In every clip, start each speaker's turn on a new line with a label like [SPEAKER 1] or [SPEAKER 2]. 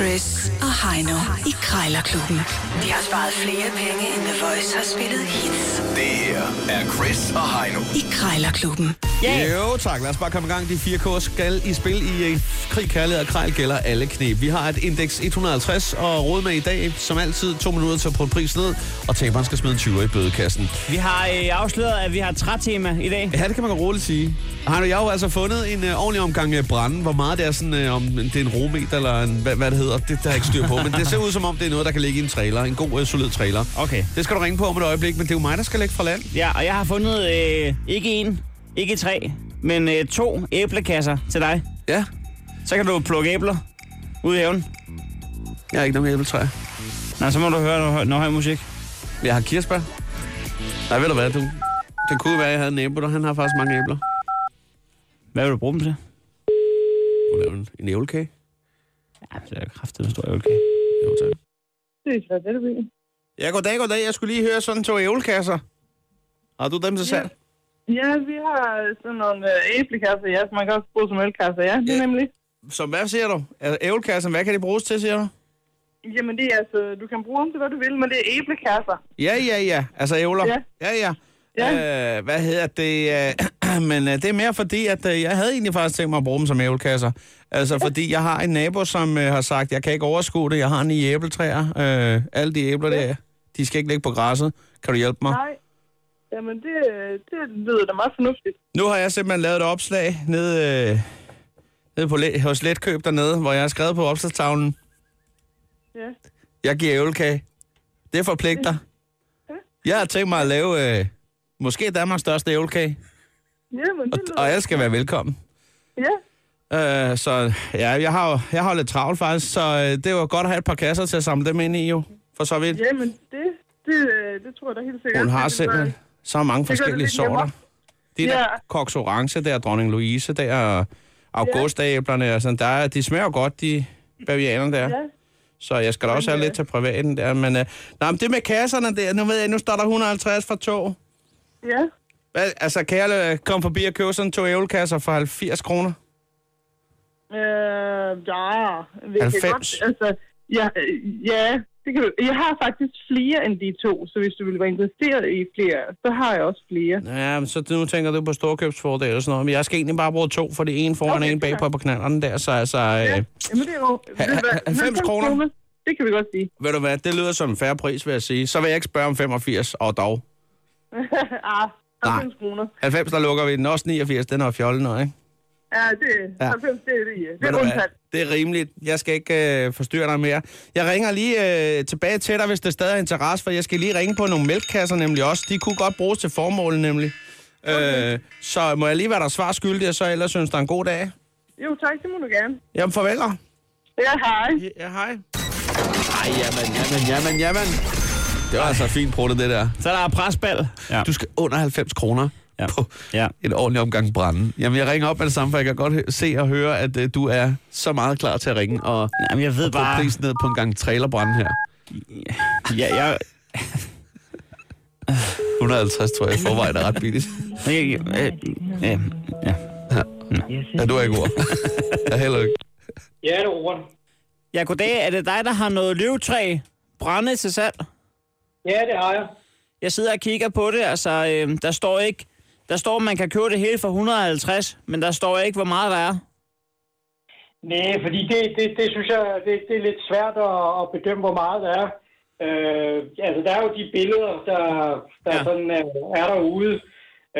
[SPEAKER 1] Chris og Heino i Krejlerklubben. De har sparet flere penge, end The Voice har spillet hits
[SPEAKER 2] Det her er Chris og Heino.
[SPEAKER 1] i Krejlerklubben.
[SPEAKER 3] Yeah. Jo tak, lad os bare komme i gang. De 4K skal i spil i øh, krig, kærlighed og krejl gælder alle knep. Vi har et indeks 150 og råd med i dag, som altid, to minutter til at putte pris ned, og taberen skal smide en 20 i bødekassen.
[SPEAKER 4] Vi har øh, afsløret, at vi har et trætema i dag.
[SPEAKER 3] Ja, det kan man godt roligt sige. Har jeg har jo altså fundet en øh, ordentlig omgang øh, brænde, hvor meget det er sådan, øh, om det er en rometer eller en, hvad, hvad det hedder, det der er jeg ikke styr på, men det ser ud som om, det er noget, der kan ligge i en trailer, en god, øh, solid trailer.
[SPEAKER 4] Okay.
[SPEAKER 3] Det skal du ringe på om et øjeblik, men det er jo mig, der skal lægge fra land.
[SPEAKER 4] Ja, og jeg har fundet øh, ikke en, ikke tre, men øh, to æblekasser til dig.
[SPEAKER 3] Ja,
[SPEAKER 4] Så kan du plukke æbler ud i haven.
[SPEAKER 3] jeg har ikke nogen æbletræer.
[SPEAKER 4] Nå, så må du høre noget, høj- noget høj musik.
[SPEAKER 3] Jeg har kirsebær. Nej, ved du hvad, du? Det kunne være, at jeg havde en æble, og han har faktisk mange æbler.
[SPEAKER 4] Hvad vil du bruge dem til?
[SPEAKER 3] Du laver en, en æblekage?
[SPEAKER 4] Ja, det er kraftigt en stor æblekage.
[SPEAKER 3] Jo, tak.
[SPEAKER 5] Det er Frederiksby.
[SPEAKER 3] Ja, goddag, goddag. Jeg skulle lige høre sådan to æblekasser. Har du dem til salg?
[SPEAKER 5] Ja, vi har sådan nogle øh, æblekasser, ja, som man kan også bruge som ølkasser, ja, det er nemlig.
[SPEAKER 3] Så hvad siger du? Æblekassen, hvad kan de bruges til, siger du?
[SPEAKER 5] Jamen, det er altså, du kan bruge dem til, hvad du vil, men det er æblekasser.
[SPEAKER 3] Ja, ja, ja. Altså ævler.
[SPEAKER 5] Ja.
[SPEAKER 3] ja. ja.
[SPEAKER 5] Ja.
[SPEAKER 3] Øh, hvad hedder det? Øh, men øh, det er mere fordi, at øh, jeg havde egentlig faktisk tænkt mig at bruge dem som ævlkasser. Altså fordi jeg har en nabo, som øh, har sagt, jeg kan ikke overskue det, jeg har ni æbletræer. Øh, alle de æbler der, de skal ikke ligge på græsset. Kan du hjælpe mig?
[SPEAKER 5] Nej. Jamen, det, øh, det lyder da meget fornuftigt.
[SPEAKER 3] Nu har jeg simpelthen lavet et opslag nede, øh, nede på, Let- hos Letkøb dernede, hvor jeg har skrevet på opslagstavlen,
[SPEAKER 5] Ja.
[SPEAKER 3] jeg giver ævlekage. Det forpligter. Jeg har tænkt mig at lave øh, måske Danmarks største ævlekage,
[SPEAKER 5] Jamen, det lyder...
[SPEAKER 3] og alle skal være velkommen.
[SPEAKER 5] Ja.
[SPEAKER 3] Øh, så ja, jeg har, jo, jeg har lidt travlt faktisk, så øh, det var godt at have et par kasser til at samle dem ind i jo, for så vidt.
[SPEAKER 5] Jamen, det, det, øh, det tror jeg da helt sikkert.
[SPEAKER 3] Hun har
[SPEAKER 5] Det lyder-
[SPEAKER 3] simpelthen så mange
[SPEAKER 5] det
[SPEAKER 3] forskellige
[SPEAKER 5] lidt nemmere.
[SPEAKER 3] sorter. Det der
[SPEAKER 5] Ja.
[SPEAKER 3] Cox Orange, der er Dronning Louise, der er augustaæblerne og sådan. Der er, de smager jo godt, de bavianer der.
[SPEAKER 5] Ja.
[SPEAKER 3] Så jeg skal da også have
[SPEAKER 5] øh,
[SPEAKER 3] lidt til privaten der. Men, øh, nej, men det med kasserne der, nu ved jeg, nu står der 150 for to.
[SPEAKER 5] Ja.
[SPEAKER 3] Hvad, altså, kan jeg øh, komme forbi og købe sådan to ævlekasser for 70 kroner?
[SPEAKER 5] Øh, ja. Vi Kan
[SPEAKER 3] 90.
[SPEAKER 5] godt, altså, ja, øh, ja, det kan du. Jeg har faktisk flere end de to, så hvis du vil være interesseret i flere, så har jeg også flere.
[SPEAKER 3] Ja, men så nu tænker du på storkøbsfordel og sådan noget. Men jeg skal egentlig bare bruge to, for det ene foran okay,
[SPEAKER 5] Okay,
[SPEAKER 3] og en bagpå på knallerne der. Så altså, øh,
[SPEAKER 5] Jamen, det er jo... ved du hvad,
[SPEAKER 3] 90 kroner.
[SPEAKER 5] Det kan vi godt sige.
[SPEAKER 3] ved du hvad, det lyder som en færre pris, vil jeg sige. Så vil jeg ikke spørge om 85, og dog.
[SPEAKER 5] ah, 90 kroner.
[SPEAKER 3] 90, der lukker vi den. Også 89, den har fjollet noget, ikke?
[SPEAKER 5] Ja, det,
[SPEAKER 3] Ja.
[SPEAKER 5] ja. 90, det er det. ja. Det
[SPEAKER 3] Ved
[SPEAKER 5] er
[SPEAKER 3] du hvad,
[SPEAKER 5] undtaget.
[SPEAKER 3] det er rimeligt. Jeg skal ikke øh, forstyrre dig mere. Jeg ringer lige øh, tilbage til dig, hvis der stadig er interesse, for jeg skal lige ringe på nogle mælkkasser nemlig også. De kunne godt bruges til formål nemlig. Okay. Øh, så må jeg lige være der svar skyldig, og så ellers synes der en god dag.
[SPEAKER 5] Jo, tak, det må du gerne.
[SPEAKER 3] Jamen, farvel. dig.
[SPEAKER 5] Ja, hej.
[SPEAKER 3] Ja, hej. Ej, jamen, jamen, jamen, jamen. Det var altså fint pruttet, det der.
[SPEAKER 4] Så der er presbal. Ja.
[SPEAKER 3] Du skal under 90 kroner ja.
[SPEAKER 4] Ja.
[SPEAKER 3] på ja.
[SPEAKER 4] Ja.
[SPEAKER 3] en ordentlig omgang brænde. Jamen, jeg ringer op med det samme, for jeg kan godt hø- se og høre, at uh, du er så meget klar til at ringe og
[SPEAKER 4] Jamen, jeg ved
[SPEAKER 3] få
[SPEAKER 4] bare...
[SPEAKER 3] prisen ned på en gang trailerbrænde her.
[SPEAKER 4] Ja, jeg,
[SPEAKER 3] 150, tror jeg, i forvejen er ret billigt.
[SPEAKER 4] jeg, jeg, øh, øh, ja.
[SPEAKER 3] Ja, du er ikke ord. Jeg heller ikke.
[SPEAKER 6] Ja, det er Robert.
[SPEAKER 4] ja, goddag. Er det dig, der har noget løvtræ brænde til salg?
[SPEAKER 6] Ja, det har jeg.
[SPEAKER 4] Jeg sidder og kigger på det, altså øh, der står ikke... Der står, man kan købe det hele for 150, men der står ikke, hvor meget der er.
[SPEAKER 6] Nej, fordi det, det, det synes jeg, det, det er lidt svært at, at bedømme, hvor meget der er. Øh, altså, der er jo de billeder, der, der
[SPEAKER 4] Ja.
[SPEAKER 6] ja. sådan, er, er derude.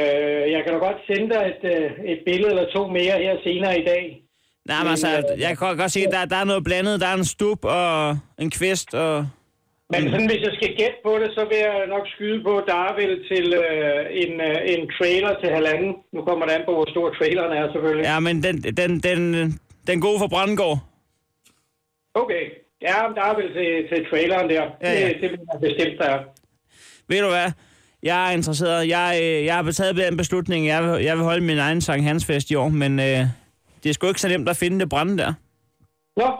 [SPEAKER 6] Øh, jeg kan da godt sende dig et, øh, et billede eller to mere her senere i dag.
[SPEAKER 4] Nej, men altså, jeg kan godt, godt se, at der, der er noget blandet. Der er en stup og en kvist og...
[SPEAKER 6] Men
[SPEAKER 4] Mm.
[SPEAKER 6] sådan, hvis jeg skal gætte på det, så vil jeg nok skyde på, at der er vel til øh, en, øh, en trailer til halvanden. Nu kommer det an på, hvor stor traileren er, selvfølgelig.
[SPEAKER 4] Ja, men den, den, den, øh, den gode for Brandengård.
[SPEAKER 6] Okay. Ja, men der er vel til, til traileren der.
[SPEAKER 4] Ja, ja.
[SPEAKER 6] Det, det vil jeg bestemt, der er.
[SPEAKER 4] Ved du hvad? Jeg er interesseret. Jeg, øh, jeg har taget den beslutning. Jeg vil, jeg vil holde min egen Sankt Hans Fest i år, men øh, det er sgu ikke så nemt at finde det brænde der.
[SPEAKER 6] Nå,
[SPEAKER 4] Jeg,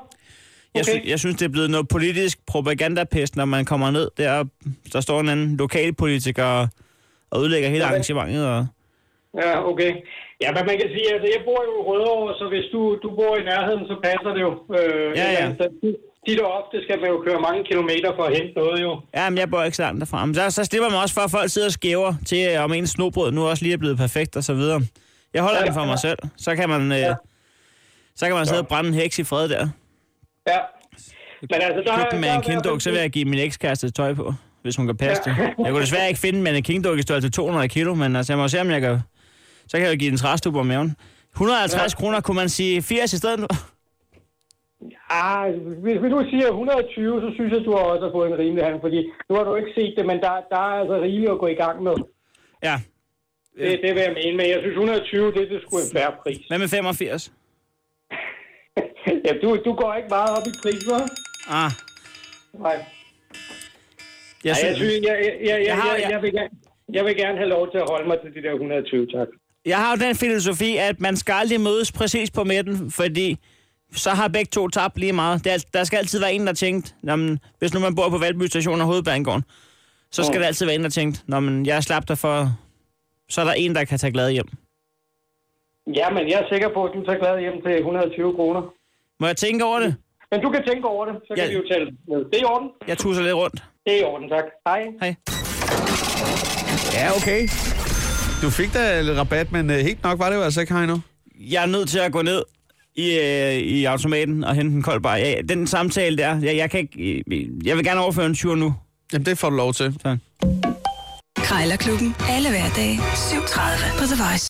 [SPEAKER 6] Okay.
[SPEAKER 4] sy- jeg synes, det er blevet noget politisk propagandapest, når man kommer ned der, og der står en anden lokalpolitiker og- og ødelægger hele arrangementet. Og...
[SPEAKER 6] Ja, okay. Ja, men man kan sige, altså jeg bor jo i Rødovre, så hvis du, du bor i nærheden, så passer det jo. Øh,
[SPEAKER 4] Ja, ja.
[SPEAKER 6] Altså, tit og ofte skal man jo køre mange kilometer for at hente noget jo.
[SPEAKER 4] Jamen, jeg bor ikke så langt derfra. Men så, så slipper man også for, at folk sidder og skæver til, øh, om ens snobrød nu også lige er blevet perfekt og så videre. Jeg holder
[SPEAKER 6] Ja,
[SPEAKER 4] det for mig selv. Så kan man, øh, så kan man sidde og brænde en heks i fred der.
[SPEAKER 6] Ja. Men altså, der,
[SPEAKER 4] Købte den med
[SPEAKER 6] der-
[SPEAKER 4] en kinduk, så vil jeg give min ekskæreste et tøj på, hvis hun kan passe det. Jeg kunne desværre ikke finde med en kinduk i størrelse 200 kilo, men altså, jeg må se, om jeg kan... Så kan jeg jo give den træstup om maven. 150 kroner, kunne man sige 80 i stedet?
[SPEAKER 6] Ah, hvis, hvis du siger 120, så synes jeg, du har også fået en rimelig handel, fordi nu har du ikke set det, men der, der er altså rigeligt at gå i gang med.
[SPEAKER 4] Ja.
[SPEAKER 6] Det, det vil jeg mene, men jeg synes 120, det, det er sgu en færre pris.
[SPEAKER 4] Hvad med 85?
[SPEAKER 6] ja, du, du går ikke meget op i pris, hva'?
[SPEAKER 4] Ah,
[SPEAKER 6] Nej.
[SPEAKER 4] jeg
[SPEAKER 6] Ej, jeg,
[SPEAKER 4] synes...
[SPEAKER 6] synes, jeg, jeg, jeg, jeg,
[SPEAKER 4] Jeg har-
[SPEAKER 6] jeg, jeg, vil gerne, jeg vil gerne have lov til at holde mig til de der 120, tak.
[SPEAKER 4] Jeg har jo den filosofi, at man skal aldrig mødes præcis på midten, fordi så har begge to tabt lige meget. Der, der skal altid være en, der tænkt, "Nå, men, hvis nu man bor på Valby Station og Hovedbanegården, så
[SPEAKER 3] Mm.
[SPEAKER 4] skal der altid være en, der tænkt, Nå, men, jeg slap dig for, så er der en, der kan tage glad hjem.
[SPEAKER 6] Ja, men jeg er sikker på, at du tager glad hjem til 120 kroner.
[SPEAKER 4] Må jeg tænke over det?
[SPEAKER 6] Men du kan tænke over det, så kan
[SPEAKER 4] Ja.
[SPEAKER 6] vi jo tale med. Det er i orden.
[SPEAKER 4] Jeg tusser lidt rundt.
[SPEAKER 6] Det er i orden, tak. Hej.
[SPEAKER 4] Hej.
[SPEAKER 3] Ja, okay. Du fik da lidt rabat, men øh, helt nok var det jo altså ikke, Heino.
[SPEAKER 4] Jeg er nødt til at gå ned i, øh, i automaten og hente en kold bar. Ja, den samtale der, jeg, jeg, kan ikke, jeg vil gerne overføre en tur nu.
[SPEAKER 3] Jamen, det får du lov til.
[SPEAKER 1] Krejlerklubben. Alle hverdage. 7.30 på The Voice.